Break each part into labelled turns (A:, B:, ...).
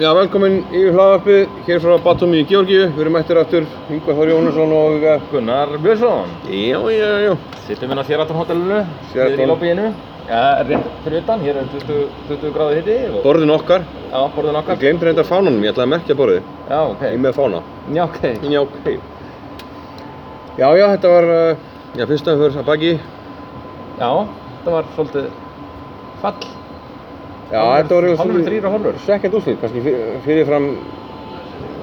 A: Já, velkomin í hlaðarpið, hér frá Batumi í Georgíu, við erum mættir aftur, Yngvar Þór Jónusson og... eh,
B: Gunnar Björnsson
A: Já, já, já.
B: Sittum hérna á Sheraton hotellinu
A: Sheraton.
B: Niður í lobbyinu Já, rétt fyrir utan, hér er 20, 20 gráðu hitti og
A: Borðin okkar,
B: Já, borðin
A: ég
B: okkar
A: glemdi reyndar fánanum, ég ætlaði að merkja borðið,
B: Já, ok
A: ég er með fána.
B: Já, ok
A: Já, ok. Já, já, þetta var, eh, já, fyrsta fyrir að baki.
B: Já, þetta var svolítið fall
A: Já, þetta var
B: Hálfur þrýr og hálfur
A: Svekkjand úrslit, kannski fyr- fyrirfram,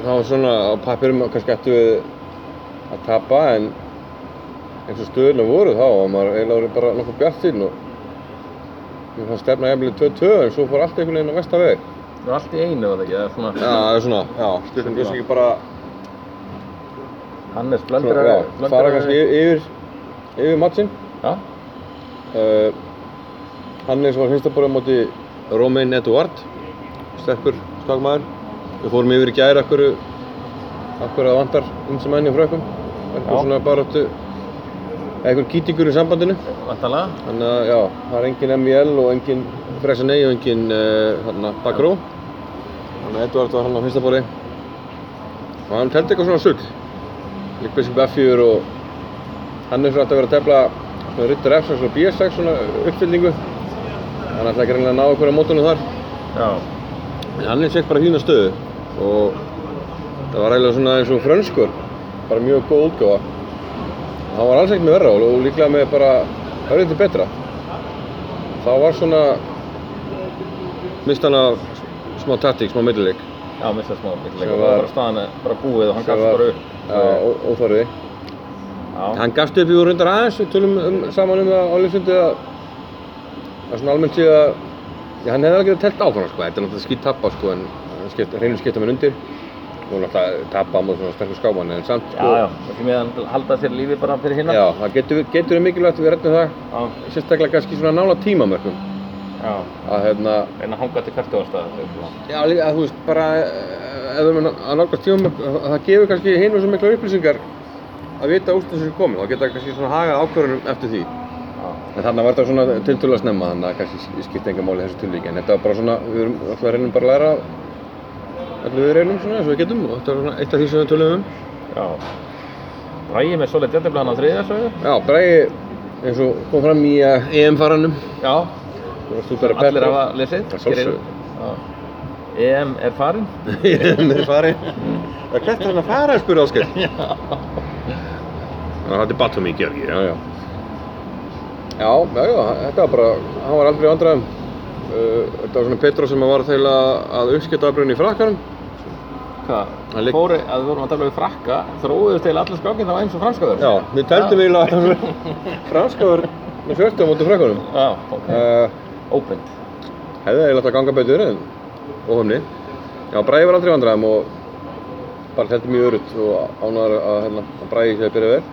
A: þá svona á pappirum kannski ættu við að tapa, en eins og stöðuna voru þá, og maður eiginlega voru bara nokkuð bjart sín og við fannst stefna jafnvel í 2-2, en svo fór allt einhvern veginn á vestaveg.
B: Það var allt í einu, var það ekki, það er
A: Já,
B: svona
A: það er svona, já, sem
B: Stundum
A: kannski ekki bara,
B: Hannes
A: svona,
B: blöndur
A: já, fara kannski yfir, yfir mattsinn.
B: Já,
A: Uh, Hannes var hinstaborðið á móti Romain Eduard, sterkur skakmaður. Við fórum yfir í gæri akkur, akkur að vantar ymsa menn í frökkum. Einhver
B: Já.
A: svona baráttu, einhver kýtingur í sambandinu.
B: vantanlega
A: Þannig að já, það er engin MVL og engin Fresanei og engin uh, þarna, Bakró. Þannig að Eduard var hann á hinstaborði. Og hann teldi eitthvað svona sugl. Líkbiskup F4 og Hannes var alltaf að vera að tefla svona Ritter F6 og B6 svona uppfyllingu. Hann ætlaði ekki reynilega að ná okkur á mótunum þar.
B: Já
A: En Hannes fekk bara hýna stöðu og það var eiginlega svona eins og frönskur. Bara mjög góð útgáfa. Hann var alls ekkert með verra og- og líklega með bara örðið betra. Þá var svona mist hann af smá taktík, smá millileik.
B: Já, missa smá
A: Sem
B: bílleik Það
A: var-
B: var bara staðan, bara búið og hann gafst
A: var-
B: bara upp
A: Já, ó- óþarfi.
B: Já,
A: Hann gafst upp í úr reyndar aðeins, við tölum um, saman um það á Lýsundi að að svona almennt sé að já, hann hefði alveg getað telt áfram sko, þetta er náttúrulega skýt tappa sko en hann skipt, reynir skipta mér undir og náttúrulega tappa á mót svona sterkur skáman en samt
B: já,
A: sko
B: já, ekki með að halda sér lífi bara fyrir hinna
A: já, það getur, við- getur við mikilvægt við reddum það
B: já,
A: sérstaklega kannski svona nála tímamörkum
B: já.
A: að hérna
B: reyna að hanga til hvert og aðstæða
A: já líka að þú veist bara eh, ef við erum að- að nálgast tímamörk að- að það gefur kannski hinu svo mikla upplýsingar að vita úrstum sem komin þá geta kannski svona hagað ákvörðunum eftir því En þarna var þetta svona tiltölu að snemma, þannig að kannski skipti enga máli í þessu tilvíki, en þetta var bara svona, við erum alltaf að reynum bara að læra allir við reynum svona eins og við getum og þetta var svona eitt af því sem við tölum um.
B: Já Ræði með svolítið jættiblan á þriðja sögu
A: Já, Bragi, eins og kom fram í eh, EM-faranum,
B: Já,
A: þú varst út að vera
B: allir hafa lesið
A: Að sjálfsögðu.
B: Gerir- Já. EM er farin
A: EM er farin. Það hvert er hann að fara, spurði Ásgeir. Já. Það er Batumi í Georgi, já, já. Já, já, já, þetta var bara, hann var aldrei í vandræðum. Uh, þetta var svona Petró sem var þegar að uppskipta afbrunni í frakkanum.
B: Hvað?
A: Það ligg-
B: Fóri að við vorum að tala um frakka þróuðust til allir skákinn það var eins og franskaður
A: Já, við tældum eiginlega að franskaður með fjörtu á móti frækkunum.
B: Já, ok
A: Uh,
B: Opened
A: hefði eiginlega átt að ganga betur en óhumni. Já, Bræði var aldrei í vandræðum og bara heldur mjög örutt og ánæður að, hérna, að Bræði sé að byrja vel.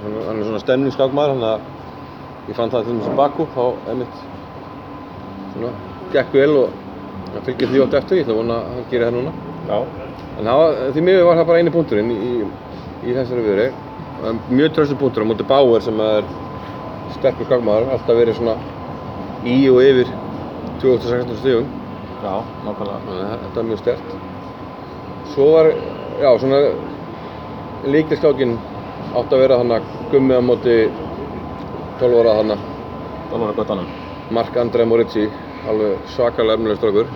A: Hann, hann er svona stemningsskákmaður, hann að ég fann það til þess að baku, þá emitt svona, gekk vel og hann fylgir því oft eftir, ég ætla að vona að hann gerir það núna.
B: Já
A: En það var, því miður var það bara eini punkturinn í, í þessari viðri. En Mjög tröstu punktur á móti Bauer sem er sterkur skakmaður, alltaf verið svona í og yfir 2016 stífum.
B: Já, nákvæmlega
A: Þannig að þetta er mjög stert. Svo var, já, svona líkilskákin átt að vera þannig að gummi á móti 12 ára þannig
B: Dólar á göttanum
A: Mark André Moritzi, alveg svakalega ermulegst okkur.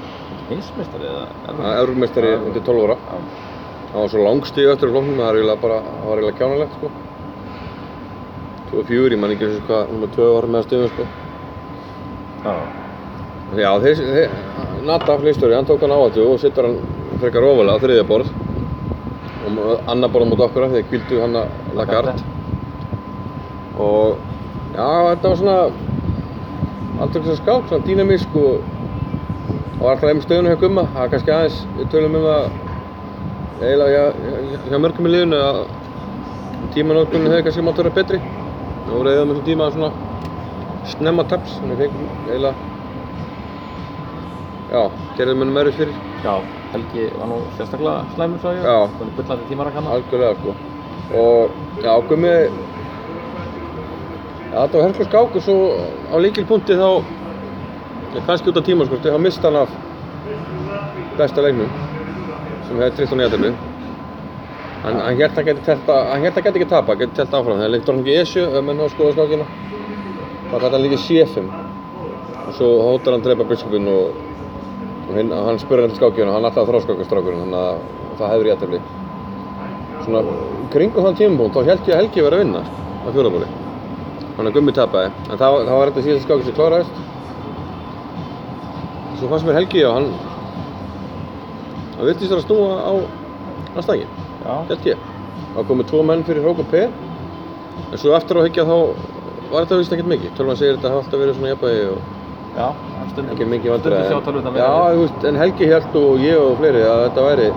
B: Hinsmistari eða
A: Hann er Evrópmeistari undir 12 ára.
B: Já
A: Það var svo langstíð eftir flóknum, það var eiginlega bara, það var eiginlega kjánalegt sko. 24, ég man ekki eins og hvað, nummer 2 var með að stöðum sko.
B: Já
A: Já, þeir, þeir, Nata, flýsturinn, hann tók hann áhættu og sittur hann frekar ofalega á þriðja borð. Og mo- annað borð á móti okkur af því þeir kvildu hann að Lagarde. Og já, þetta var svona, aldrei þess að skák, svona dýnamísk og það var alltaf einhver stöðunum hjá Gumma, það er kannski aðeins, við tölum um það eiginlega hjá, hjá- hjá mörgum í liðinu að tímanótkunni hefði kannski mátt vera betri. Það voru eða með þessum tíma svona snemma taps, þannig fengum eiginlega, já, gerðum hennum erfið fyrir,
B: Já, Helgi var nú sérstaklega slæmur svo ég
A: Já.
B: Þannig bullandi tímar að kanna
A: algjörlega sko. Og já, Gummi, já, þetta var herrkvæm skák og svo á líkilpunkti þá, ég kannski út af tíma sko, þá mist hann af besta leiknum sem hefði tryggt hún í aðtölu hann, hann hélt að geti telta, hann hélt að geti ekki tapa, geti telta áfram þegar leiktur hann ekki ESU, ef menn hafa skoðað skákina þá kallar hann líka CFM og svo hótar hann drepa biskupinn og, og hinn, hann spurði hann til skákina og hann alltaf þróskakastrákurinn þannig að það hefur í aðtölu svona kringum þann tímapunkt þá held ég að Helgi verið að vinna á fjórðabóli þannig að Gummi tapaði en það, það var þetta síðan skákið sem kláraðist svo fannst mér Helgi og hann hann virtist vera að snúa á á stangin,
B: Já,
A: held ég þá komu tvo menn fyrir Hrók og P en svo eftir á higgja þá var þetta vist ekkert mikið tölvan segir þetta hafa alltaf verið svona jafnvægi og
B: já, en stundum
A: ekki mikið vandræði
B: Stundum sjá
A: já,
B: tölvurnar meira við.
A: þú veist, en Helgi held og ég og fleiri að þetta væri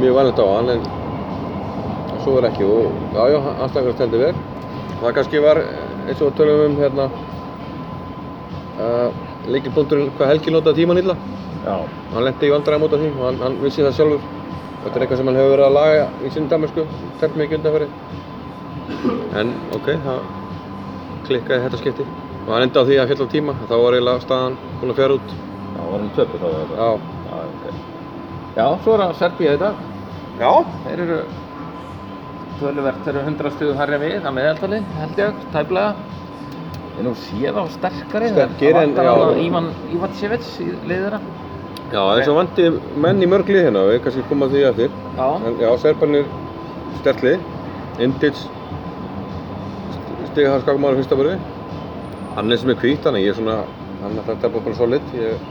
A: mjög vanlegt á hann en en svo var ekki og já, já, anstakangur steldi vel það kannski var eins og tölum um hérna uh, leikilbúndurinn hvað Helgi notaði tíman illa
B: Já,
A: hann lendi í vandræðum út af því og hann, hann vissi það sjálfur þetta er eitthvað sem hann hefur verið að laga í sinni damersku tært mikið undanfæri en ok, það klikkaði þetta skipti og hann enda á því að fjalla á tíma þá var eiginlega staðan búin að fjara út
B: já, varum töpu þá eða eitthvað.
A: já,
B: Já, ok. Já, svo er að Serbía í dag.
A: já.
B: Þeir eru töluvert, þeir eru 100 stuðum hærri en við að meðaltali, held ég, tæplega. Þeir nú séð á sterkari,
A: Sterkir en-
B: það vantar
A: já.
B: alveg Ívan Ívatsevits í liðina.
A: já eins og vandi menn í mörg lið hérna við kannski komum að því eftir
B: Já,
A: en já, serbarnir stertli Indic stigðar skakmaður fyrsta börfi hann er sem er hvít, þannig að ég er svona hann er þetta bara solid ég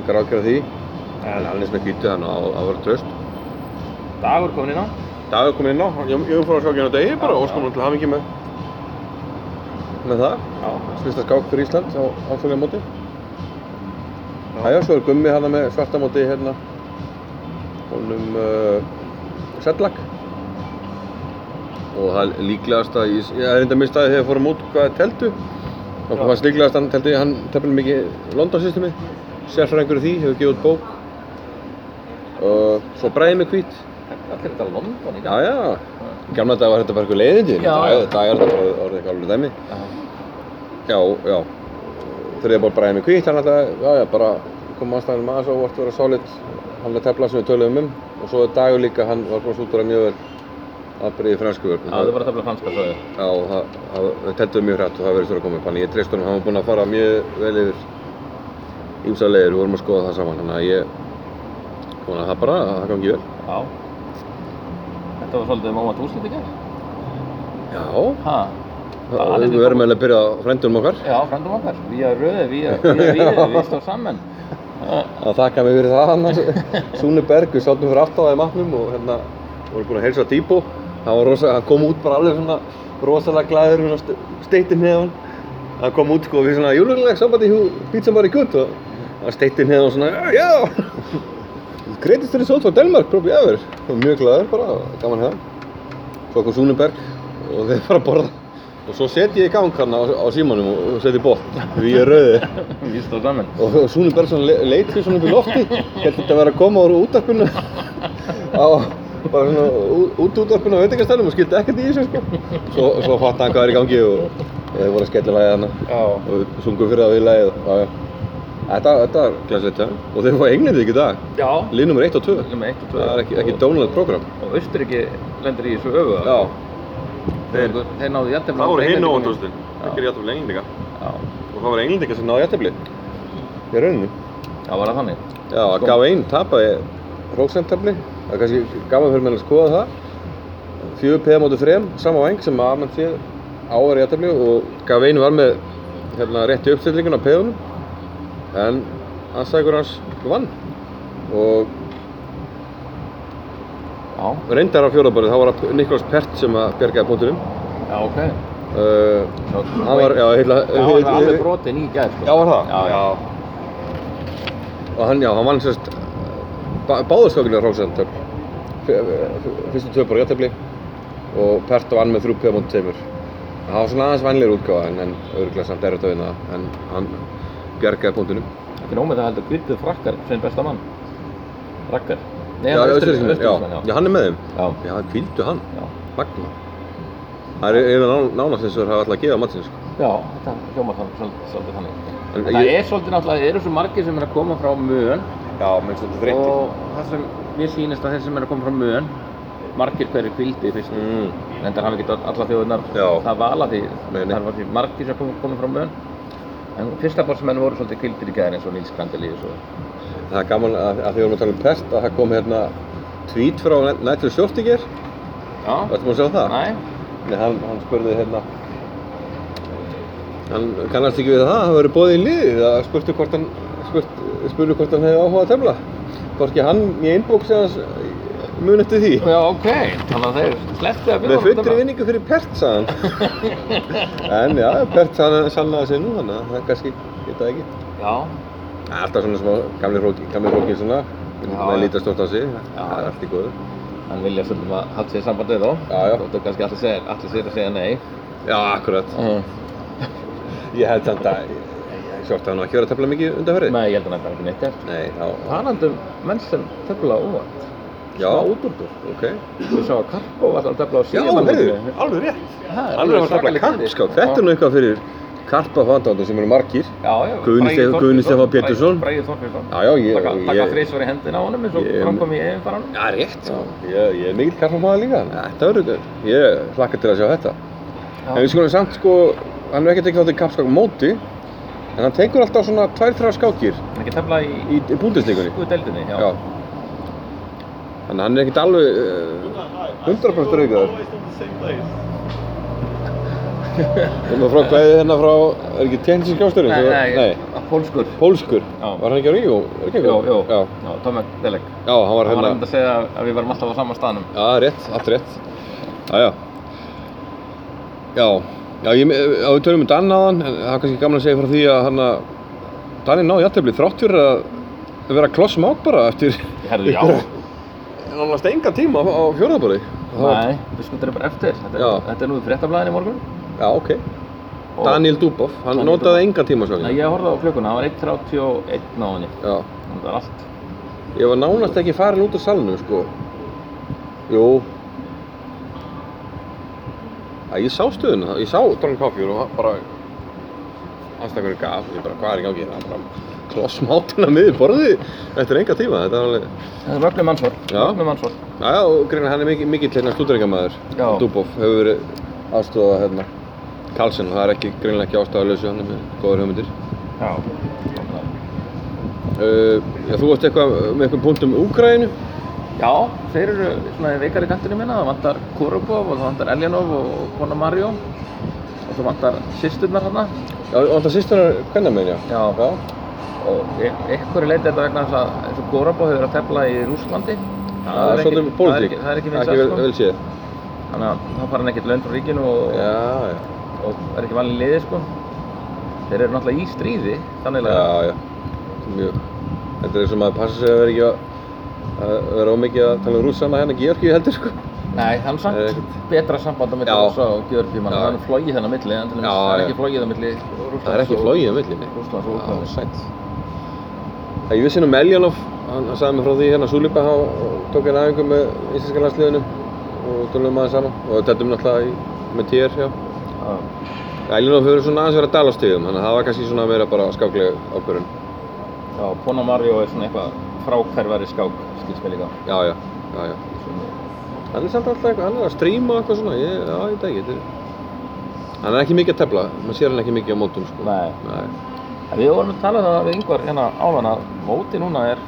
A: engar ákjör á því en hann er sem er hvítu þannig að það verður tröst
B: dagur komin inn á.
A: Dagur kom inn á, ég, ég fór að skákja hérna á degi bara
B: Já,
A: og skum hann til hafingi með með það
B: Já,
A: fyrsta skák fyrir Ísland á alþjóðlega móti Æja, svo er Gummi hérna með svarta móti hérna honum uh, Sedlak og það er líklegast að ég, ég er enda mistaði þegar fórum út hvað þeir teldu og
B: Já.
A: það fannst líklegast að hann teldi hann tefnir mikið London-systemi sérfræðingur í því, hefur gefið út bók uh, svo bræði með hvít
B: allir þetta London í dag.
A: já já, gamla dag var þetta bara eitthvað leiðindi
B: Já,
A: dag,
B: já.
A: dag er þetta bara orðið eitthvað alveg dæmi
B: Já,
A: Já, já. Þegar ég bara bræði mig kvítt, hann alltaf, já, já, bara kom aðstæðanum aðeins og vart vera solid, hann að tefla sem við töluðum um og svo dagur líka, hann var komast út úr að mjög vel aðbyrði í fransku vörn.
B: það var tæplega franska svo.
A: Já, og það, það, það teltuðu mjög hrætt og það verið stóra komið upp, þannig ég treyst honum, hann var búinn að fara mjög vel yfir ýmsa leiðir, við vorum að skoða það saman, þannig að ég, vona að það bara, að það gangi vel.
B: Já. Þetta var svolítið mómat úrslit í gerð.
A: Já,
B: Ha?
A: það, við verðum eiginlega að byrja á frendunum okkar.
B: Já, frændum okkar. Við erum röðið, við erum við, við stóð saman. Já,
A: að þakka mig fyrir það annars Súni Berg, við sáttum fyrir aftan það í matnum og hérna vorum búin að heilsa Díbo hann, var rosa, hann kom út bara alveg svona rosalega glæður svona steittin neðan hann kom út sko við svona júlugulega sambandi hú pizza bara í gutt og hann steittin neðan svona "Ah, já greatest result for Denmark probably ever og mjög glæður bara gaman hefðan svo kom Súni Berg og þeir bara að borða og svo setjum ég í gang hann á, á símanum og og setjum bótt við ég rauði
B: Við stóð saman.
A: og Súni Bergson le- leit því svona upp í lofti held þetta að vera að koma úr útarpinu á bara svona ú- út útarpinu á veitingastælum og skildi ekkert í þessu sko svo, svo fatt hann hvað er í gangi og þau voru að skella lagið hana
B: Já.
A: og við sungum fyrir það við lagið já, já. Þetta, þetta var glæsilegt ja. og þau fá englindi ekki í dag
B: Já.
A: lið nummer 1 og 2
B: Númer eitt og tvö.
A: það er ekki, ekki dónulegt program
B: Og Austuríki lendir í þessu öfu.
A: já
B: Þeir, þeir náðu jættið. Það gerir
A: jættabli englindinga og
B: Já.
A: það var englindinga sem náði jættabli í rauninni
B: Já, var það þannig?
A: Já, að
B: Sko.
A: gaf einn tapaði próksentabli, það er kannski gaman fyrir mér að skoða það. Fjögur peða mótu þrem, sama veng sem að mann sé áver í aðtefni og gaf einn var með hérna, rétti uppstillingun á peðunum en ansækur hans vann og
B: Já.
A: reyndar á fjórabarið, þá var Niklas Pert sem að bjargaði bótunum.
B: Já, ok.
A: Uh,
B: Svo-
A: hann var, já, heila,
B: Já, hann var alveg brotinn í gæð, sko.
A: Já, var það?
B: Já, já.
A: Og hann, já, hann vann sérst báðurskökulega hróksendatöfl. Fyrstu tvö bara játtöfli og Pert vann með þrjú pjá mútið teimur. Það var svona aðeins vænlegur útgáfa en, en örgulega samt erfitt að vinna það en hann bjargaði punktunum.
B: Ekki nómið það heldur kvittuð frakkar sem besta mann. Frakkar. Nei,
A: Já,
B: hann er
A: Austurríkismenn,
B: Austurríkismenn,
A: já, já, hann er með þeim.
B: Já.
A: Já, hvíldu hann.
B: Já.
A: Magna. Það er yfir nánast eins og það er alltaf að gefa matinn, sko.
B: Já, þetta hljómar þannig, svol- svolítið þannig.
A: En
B: það
A: ég-
B: er svolítið náttúrulega, eru svo margir sem er að koma frá mön
A: Já, minnst þetta þreytti.
B: og það sem mér sýnist að þeir sem er að koma frá mön, margir hverju kvildi fyrst. Mm.
A: Mm.
B: En það hafi ekki alla þjóðunar
A: Já.
B: það vala því,
A: Nei, nei.
B: það var því margir sem kom- komu frá mön. En fyrsta borsmenn voru svolítið kvildir í gæðin eins og Nils Grandelíus og...
A: Það er gaman að, að því við vorum að tala um pest að það kom hérna tweet frá Nigel Short í ger.
B: Já,
A: Þetta múið að sjá það?
B: næ,
A: Nei, hann, hann spurði hérna Hann kannast ekki við það, hann verið bóðið í liðið það spurði hvort hann spurt, spurði hvort hann hefði áhuga að tefla Hvorki hann í einbóksi hans mun eftir því
B: já ok, þannig að þeir sleppti að um
A: Með
B: bjóða honum
A: fullri
B: þarna.
A: vinningu fyrir Pert, sagði hann En já, Pert sann- sannaði sig nú, þannig að það kannski geta ekki
B: Já,
A: Það er Alltaf svona smá gamli hróki, gamli hrókin svona Það
B: já.
A: lítast oft á sig, það er allt í góðu
B: hann vilja svolítið að hafa sér sambandið þó.
A: Já, já.
B: Þóttu kannski allir segir, allir segir að segja nei.
A: Já, akkurat Ég held samt að Sjórta hann ekki verið að tefla mikið undanferði
B: Nei, ég held að hann er ekki neitt eftir.
A: Nei, þá
B: Talandi um menn sem tefla óvart.
A: Já.
B: Smá útúrkur.
A: Ok.
B: Ég sá að Karpo var alltaf að tefla á
A: Já,
B: síðan.
A: heyrðu, alveg rétt. Alveg að tafla kappskap. Þetta er
B: Já,
A: nú eitthvað fyrir karpafandáttur sem eru margir.
B: já.
A: Guðni
B: Bragi
A: Stef-
B: Þorgeirsson,
A: Guðni Stefán
B: Bragi-
A: Pétursson.
B: Bragi Þorgeirsson.
A: Já, já, ég...
B: Taka, taka
A: ég-
B: þrísvar í hendina á honum eins og
A: Ég-
B: framkom í yfirfaranum.
A: Já, rétt. sko. Ég, ég er mikill karpamaður líka. þannig að Þetta verður eitthvað. Ég hlakka til að sjá þetta. En við skulum samt sko, hann er ekki tekið þátt í kappskap móti, en hann tekur alltaf svona tvær, þrjá skákir
B: Hann ekki tefla í
A: í, í búndisleikunni.
B: Guðdeldinni, já.
A: Já. Þannig að hann er ekkert alveg uh, 100% raukaður. Komum frá kvæðið hérna frá, er ekki tjensi skjásturinn?
B: Nei, nei, pólskur.
A: Pólskur?
B: Já.
A: Var hann ekki á Ríó? Er ekki á
B: Jó,
A: Ríó?
B: jó,
A: Já.
B: já, Tomek Delek.
A: Já, hann var
B: Hann var einmitt
A: hérna.
B: að segja að við varum alltaf á sama staðnum.
A: Já, rétt, allt rétt. Já, já. Já, já, ég, já við tölum um Dan aðan, en það er kannski gaman að segja frá því að hann að Danni náði jættabli þrátt fyrir að vera klossmát bara eftir
B: Herðu, já.
A: nánast enga tíma á, á fjórðabóli.
B: Nei, við skuldum þetta bara eftir. Þetta,
A: Já.
B: er- þetta er nú í fréttablaðin í morgun.
A: Já, ok.
B: Og-
A: Daniel Dubov, hann
B: Daniel
A: notaði
B: Dubov.
A: enga tíma svo
B: Nei, ég horfði á klukkuna, það var 1.31 á henni.
A: Já,
B: Það var allt.
A: ég var nánast ekki farin út af salnum, sko. Jú. Já, ég sá stöðuna, það- ég sá Don Coffey og hann bara aðstakurinn gaf, ég bara, hvað er í gangi hérna? Bara klossmátina miður borðið eftir enga tíma, þetta er alveg...
B: Það er mögnum ansvar.
A: Já.
B: Mögnum ansvar.
A: Já, já, og greina hann er mikið, mikill hérna stúdringamæður,
B: Já.
A: Dubov, hefur verið aðstofað hérna. Karlsson, það er ekki, greinlega ekki ástafalösu, hann er með góðar hugmyndir.
B: Já.
A: Uh, já, þú varst eitthvað með eitthvað punkt um Úgrænu?
B: Já, þeir eru svona veikari kantinu minna. Það vantar Korobov og það vantar Eljanov og Kona Mario. Og svo vantar hérna. sýsturnar hana.
A: Já, og alltaf sýstunar hvernig með henni,
B: Já.
A: já.
B: Og e-, einhverju leiti þetta vegna þess að eins og Korobov hefur verið að tefla í Rússlandi.
A: Það er svolítið
B: ekki- það er
A: pólitík.
B: ekki- Það er ekki
A: Ekki vel,
B: vinsælt
A: vel
B: sko.
A: séð.
B: Þannig að það fara hann ekkert laun frá ríkinu og,
A: Já, já.
B: og er ekki valin í liði sko. Þeir eru náttúrulega í stríði, þannig að
A: Já, já. Mjög. Þetta er eins og maður passa sig að vera ekki að að vera ómikið að tala um rússana hérna Georgi heldur, sko.
B: Nei, hann samt
A: Eh,
B: betra samband á milli
A: Já.
B: Rússa og Georgi mann,
A: Já.
B: hann flogið þennan milli, en til dæmis
A: Já,
B: það er
A: já.
B: ekki flogið þennan milli Rússlands
A: Það er ekki
B: og-
A: flóið um villinni.
B: Rússlands
A: Já,
B: og Úkraínu.
A: sætt. Það ég vissi nú um Eljanov, hann hann sagði mér frá því hérna Súlipa, hann tók hérna aðeingu með íslenska landsliðinu og tölum maður saman og þetta um náttúrulega í- með TR, já.
B: Já.
A: Eljanov hefur svona aðeins verið að dala á stigum, þannig að það var kannski svona meira bara skákleg ákvörðun.
B: Já, Pona Mario er svona eitthvað frákverfari skák, skilst mér líka
A: Já, já, já, já. Hann er samt alltaf eitthvað, hann er að stríma eitthvað svona, ég, já, ég veit ekki, þetta er... Hann er ekki mikið að tefla, maður sér hann ekki mikið á mótum, sko.
B: Nei.
A: Nei.
B: En Við vorum að tala um það við yngvar hérna áðan að móti núna er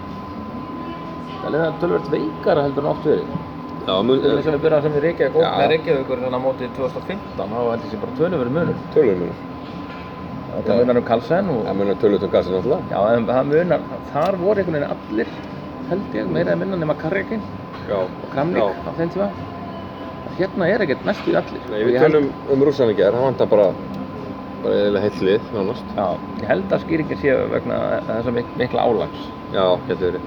B: Það er tölvöld veikara heldur en oft verið
A: Já, mun,
B: Til þess að við byrjaðum sem við Reykjavík og
A: Já.
B: með Reykjavíkur hérna mótið 2015 þá held ég sé bara tölvöld munur
A: tölur munur.
B: Það munar um Karlsen og
A: Það munar tölur um gassin alltaf.
B: Já, en það munar, þar voru einhvern veginn allir, held ég, meira eða minna nema Karjakin
A: Já.
B: og Kramnik á þeim tíma. Hérna er ekkert næstu í allir.
A: Nei,
B: Og
A: við
B: ég held-
A: tölum um rússan í gerð, hann vantar bara, bara eða heillið, nánast.
B: Já, ég held að skýringin sé vegna þessa mik mikla álags.
A: Já, getur verið.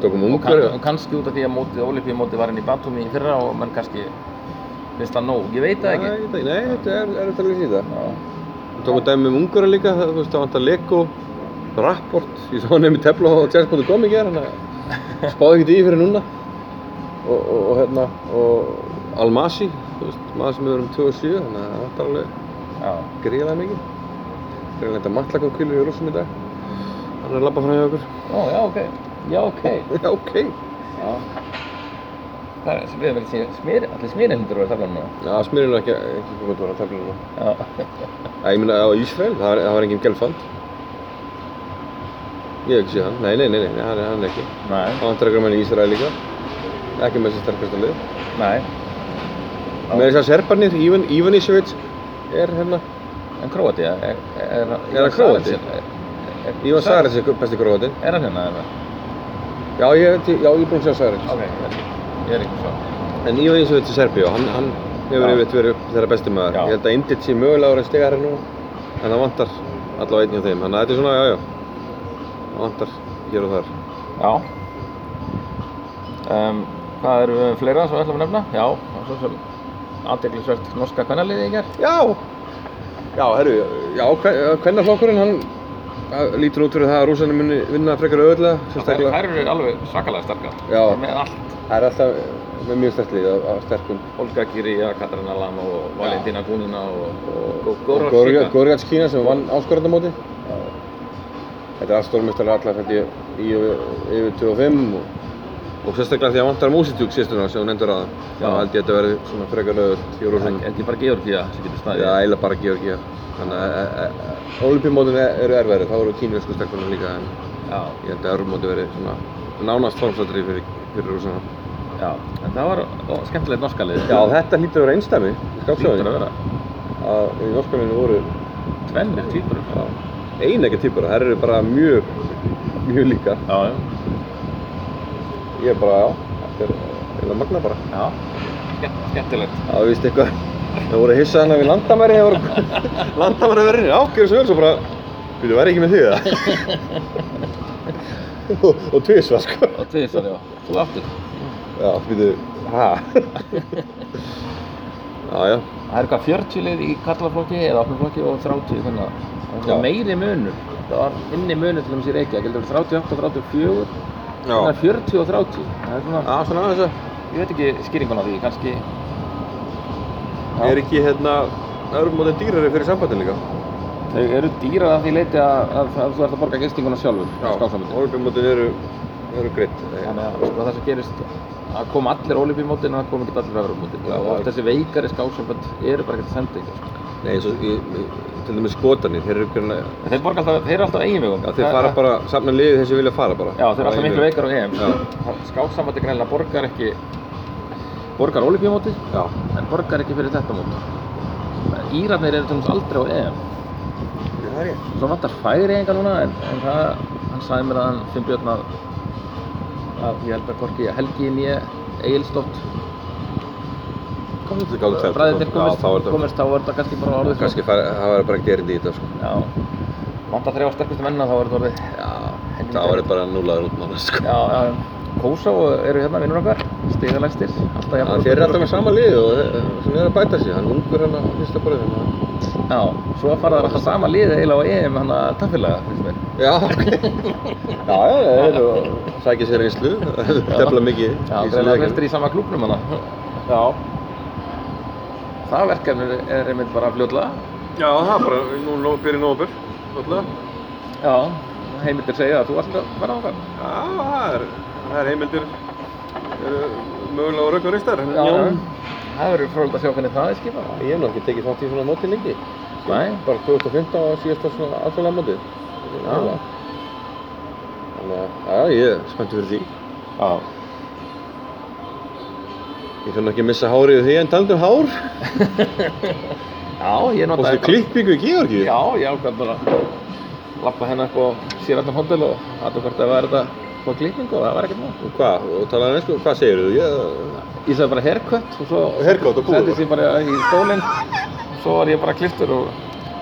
A: Tókum
B: Og, kann,
A: ungar,
B: og kannski út af því að mótið, ólipið mótið var inn í Batumi í fyrra og menn kannski finnst það nóg, ég veit það
A: Nei,
B: ekki.
A: þetta- nei, þetta er, er þetta lýsið það.
B: Já,
A: Tókum dæmi um ungara líka, það, þú veist, það vantar Lego, rapport, ég sá hann nefnir tefla á chess.com í gerð, hann spáði ekkert í fyrir núna. Og, og, og hérna, og Almasi, þú veist, maður sem er um 27, þannig að það vantar alveg
B: Já.
A: gríðlega mikið. Gríðlega þetta matlakum kvílir í rússum í dag. Hann er að labba fram hjá okkur.
B: Ó, já, ok. Já, ok.
A: Já, ok.
B: Já. Það er sem við erum ekki smýr, allir smýrinlindur voru að tafla núna.
A: Já, smyrjum er ekki, ekki komið bara að tefla núna.
B: Já.
A: Já, ég meina á Ísrael, það var, það var enginn gelfand. Ég hef ekki séð hann. Nei, nei, nei, nei, nei hann, er, hann er ekki.
B: Næ,
A: Það vantar ykkur mann í Ísrael líka. Ekki með þessi sterkasta lið.
B: næ. Já.
A: Með þess að serbarnir, Ivan, Ivanisevic, er hérna,
B: En Króatía, er,
A: Er
B: er,
A: hann Króati? Ivan
B: Sarits-
A: Saric er besti gróðin.
B: Er hann hérna eða?
A: Já, ég, já, ég er búinn að sjá Saric.
B: Ok, ég er- ég er ekki svo.
A: En Ivan Ísovits í Serbíu, hann, hann hefur
B: Já.
A: yfirleitt verið þeirra besti maður.
B: Já.
A: Ég held að Indic sé mögulega árið stegari nú, en það vantar allavega einn hjá þeim. Þannig að þetta er svona, já, já, það vantar hér og þar.
B: Já. Um, hvað eru við með fleira sem við ætlum að nefna? Já, það var svo sem aðdeglisvert norska kvennaliði í gerð.
A: Já, já, herru, já, hvernig flokkurinn, hann að- lítur út fyrir það að rúsanum muni vinna frekar auðvöldlega,
B: Þær
A: sérstaklega.
B: þær eru alveg svakalega sterkar.
A: Já.
B: Þær eru Með allt.
A: Það er alltaf eh, með mjög stertlið af, af sterkum.
B: Olga Kirja, Katarina Lama og Valentina Gunina og, og Góra
A: Góriðats Góriðats Kína sem vann áskorandamóti. Þetta er aðstórmestari allar held ég í yfir, yfir 25 og, og sérstaklega því að vantar músitjúk sérstuna sem hún endur að
B: Já.
A: þá held ég að þetta verði svona frekar lögult í Rúsland.
B: Ekki bara Georgía sem getur
A: Það
B: staðið.
A: er eiginlega bara Georgía. Þannig að e- olimpíumótin eru erfæri, þá eru kínversku stelpunum líka en
B: Já.
A: ég held að örmóti verði svona nánast formsatri fyrir, fyrir Rúsland.
B: Já. En það var ó, skemmtilegt norska liði.
A: Já, þetta hlýtur að vera einstæmi í
B: Lítur að
A: skápsjóðin.
B: vera.
A: Að í norskafinu voru
B: Tvennir týpur.
A: já, eineggja týpur, þær eru bara mjög, mjög líka.
B: Já, já.
A: Ég er bara, já, þetta er eiginlega magna bara.
B: Já. Skemmt- Skemmtilegt.
A: Það var vist eitthvað, það voru hissað hana við landamæri, það voru landamæri verðinu, já, gerðu svo vel, svo bara, byrju, væri ekki með því það? og, og tvisvar, sko.
B: Og tvisar, já. Þú aftur.
A: Já, byrju, hæ? já, já,
B: Það eru hvað 40 lið í kallaflokki eða opnuflokki og 30 þannig að það
A: Já.
B: var meiri munur það var minni munur til þess í Reykjavík heldur 38 og 34
A: já.
B: þannig að 40 og 30 það er svona,
A: Já, svona aðeins að,
B: ég veit ekki skýringun á því kannski
A: er ekki hérna, það eru mótið dýrari fyrir sambandin líka.
B: þau eru dýrar að því leiti að, að, að þú ert að borga gestinguna sjálfur skásamöndin
A: orðbjörnmótin eru, eru gritt.
B: þannig að sko, það sem gerist að koma allir ólipímótin og það kom ekki allir öðrumótin
A: Já,
B: og oft
A: já.
B: þessi veikari skásambönd eru bara ekkert að senda ykkur sko.
A: Nei, eins og, í- í- til dæmis skotanir, þeir eru greinilega,
B: En þeir borga alltaf, þeir eru alltaf eigin vegum
A: Já, þeir fara bara, safna liðið þessi vilja fara bara.
B: Já, þeir eru alltaf miklu veikar á EM
A: Já.
B: Skáksambandi greinlega borgar ekki borgar olífjumóti
A: Já.
B: en borgar ekki fyrir þetta mót Írarnir eru til dæmis aldrei á EM
A: Það er ég.
B: Svo vantar færi enga núna en, en það, hann sagði mér að hann finn björn að að ég held að hvorki Helgi Nýje Egilstótt
A: Komið til gáðu tæmt.
B: bræðinir
A: Já, þá er
B: komist, sko.
A: þetta.
B: komist þá er þetta kannski bara orðið
A: Kannski fara, það var bara ekkert erindi í þetta, sko.
B: svona. Já Vantar þrjá sterkustu menna þá er þetta orðið
A: Já. Það var bara núlaður út manna, sko.
B: Já, já Kosovo eru hérna vinnur okkar stigalægstir alltaf
A: Já,
B: jafn-
A: þeir eru alltaf með sama liðið og þeir- sem er að bæta sig. Hann ungur hann að fyrsta borðið hann.
B: Já, svo fara það alltaf sama liðið eiginlega á EM hann að taffilega, finnst mér.
A: Já, ok. Já, já, þeir eru að sækja sér einslu. Tefla mikið. í
B: Já,
A: þessum
B: það
A: leikjum.
B: flestir í sama klúbnum hana. Já. Það verkefni er einmitt bara fljóðlega.
A: Já, það er bara, nú nó- byrja nógabur. Alltaf.
B: Já. Heimildir segja að þú ætlar að fara á það.
A: Já, það er, það er heimildir. Eru mögulega á rauk og ristar.
B: Það verður frólægt að sjá hvernig það er skipað.
A: Ég hef náttúrulega ekki tekið þátt í svona móti lengi.
B: Nei.
A: Bara 2015 var síðasta svona alþjóðlega móti.
B: Já.
A: Þannig að, já, ég er spenntur fyrir því.
B: Já.
A: Ég þarf nú ekki að missa hárið því en talandi um hár.
B: Já, ég notaði...
A: Fórstu klippingu í Georgíu?
B: Já, ég ákvæði bara að lappa henni upp á Sýrarnar hóndel og aðeins hvort það var þetta hvað klippingu og það var ekkert mál.
A: Og hvað? Og talaði eins og hvað segir þú? Ég...
B: Ég sagði bara haircut og svo
A: Haircut og búið.
B: settist ég bara í stólinn svo var ég bara kliftur og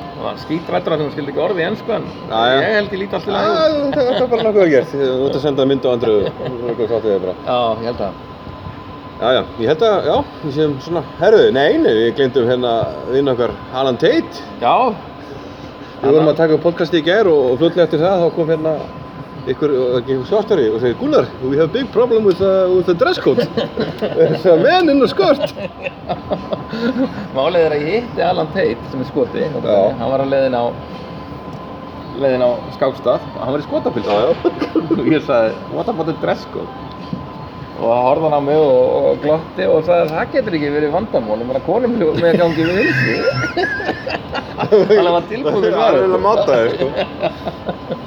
B: það var skítrættur af því hún skildi ekki orðið í ennsku en
A: Já, já.
B: ég held ég líti allt í lagi út.
A: Það það er bara nokkuð vel gert. Þú ert að senda mynd á andru og eitthvað þáttið þig bara.
B: Já, ég held að
A: Já, já, ég held að, já, við séum svona, herruðu, nei, nei, við glindum hérna vinn okkar Alan Tate.
B: Já,
A: Við vorum að taka upp podcasti í gær og, og fljótlega eftir það þá kom hérna ykkur, ykkur skorstari og segir Gunnar, we have big problem with the, with the dress code There's a man in a skirt
B: Málið er að ég hitti Alan Tate sem er skoti, hann
A: Já.
B: var á leiðin á leiðin á skákstað og hann var í skotapils
A: Já, já.
B: og ég sagði, what about the dress code? og það horfði hann á mig og, og glotti og sagði, það getur ekki verið vandamál ég meina, konum hljóð með að gangi við vinsu Þannig að var tilbúin
A: Það
B: að
A: er alveg að máta þér sko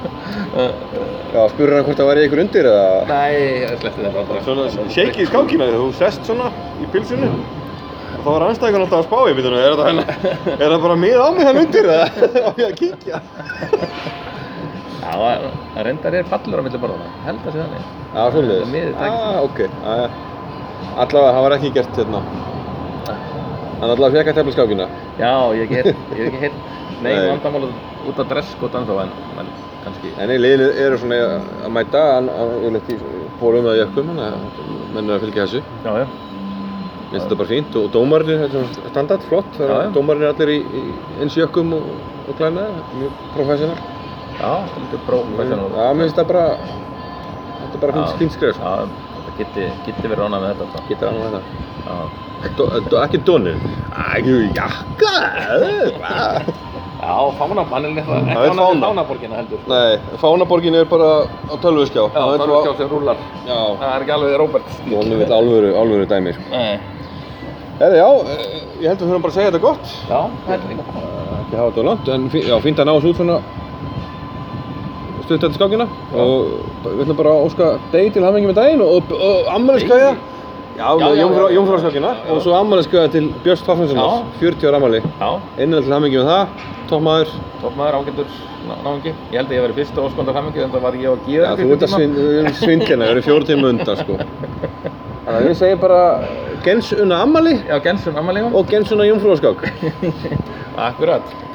A: Já, spurur hann hvort það væri ykkur undir eða
B: Nei, ég sleppti þetta bara
A: Shake í skákina, þú sest svona í pilsinu og þá var anstæðingan alltaf að spá í bitinu er það, henn, er það bara mið á mig hann undir eða á ég að kíkja
B: Já, það- það reyndar er fallur á milli borðana held að sé þannig
A: Já, svolítið
B: Það miðið
A: Já,
B: takist.
A: ok já, já. Allavega, það var ekki gert hérna Hann allavega fekk að tefla skákina
B: Já, ég hef ekki heyrt, ég hef ekki heyrt nein
A: Nei.
B: vandamál út af dresskótan þó en, en kannski
A: En í liðinu eru svona eh, að mæta en ég leti fórum að jökkum þannig að menn er að fylgja þessu
B: Já, já,
A: Mér finnst þetta bara fínt og dómarinn þetta er svona standard, flott það
B: Já,
A: er
B: já.
A: að dómarinn er allir í, í eins jökkum og, og klænaði, mjög professional
B: já, þetta er líka próf
A: Já, mér finnst þetta bara þetta er bara fínt, fínt skrif sko.
B: Já, þetta geti, geti verið ánað með þetta sko.
A: Geta annað þetta
B: Já,
A: Do, do, Ekki dónin Ekki jakka eh, hvað?
B: já fána, hann er eitthvað
A: Það er
B: ekki ánað með
A: fána.
B: fánaborgina heldur sko.
A: Nei, fánaborgin er bara á tölvuskjá
B: Já, það er ekki á sem rúlar
A: Já,
B: Það er ekki alveg Robert stíl
A: dónin vil alvöru, alvöru dæmi sko.
B: Nei,
A: Herri, já, eh, ég held að við höfum bara að segja þetta gott
B: já, það er líka
A: Eh, ekki hafa þetta á langt, en fí- já, fínt að ná þessu út svona stuttan skákina og b- við ætlum bara að óska degi til hafingi með daginn og, og ammæliskauða
B: Degi?
A: Já,
B: Já, já, já, já.
A: jómfrá skákina
B: Já, já.
A: og svo ammæliskauða til Björns Tófnarssonars,
B: Já.
A: 40 ára ammæli
B: Já,
A: Innilega til hafingi með það, toppmaður
B: toppmaður ágættur ná- náungi Ég held að ég verið fyrst og óskondar hamingi en það var ég og
A: Já,
B: Gíður
A: þú ert að svin- um við erum svindlina, við erum fjóru tíma undan sko Þannig að við segjum bara gensunna ammæli
B: Já, Gensun, ammali
A: og gensunna jómfrú skák
B: Akkurat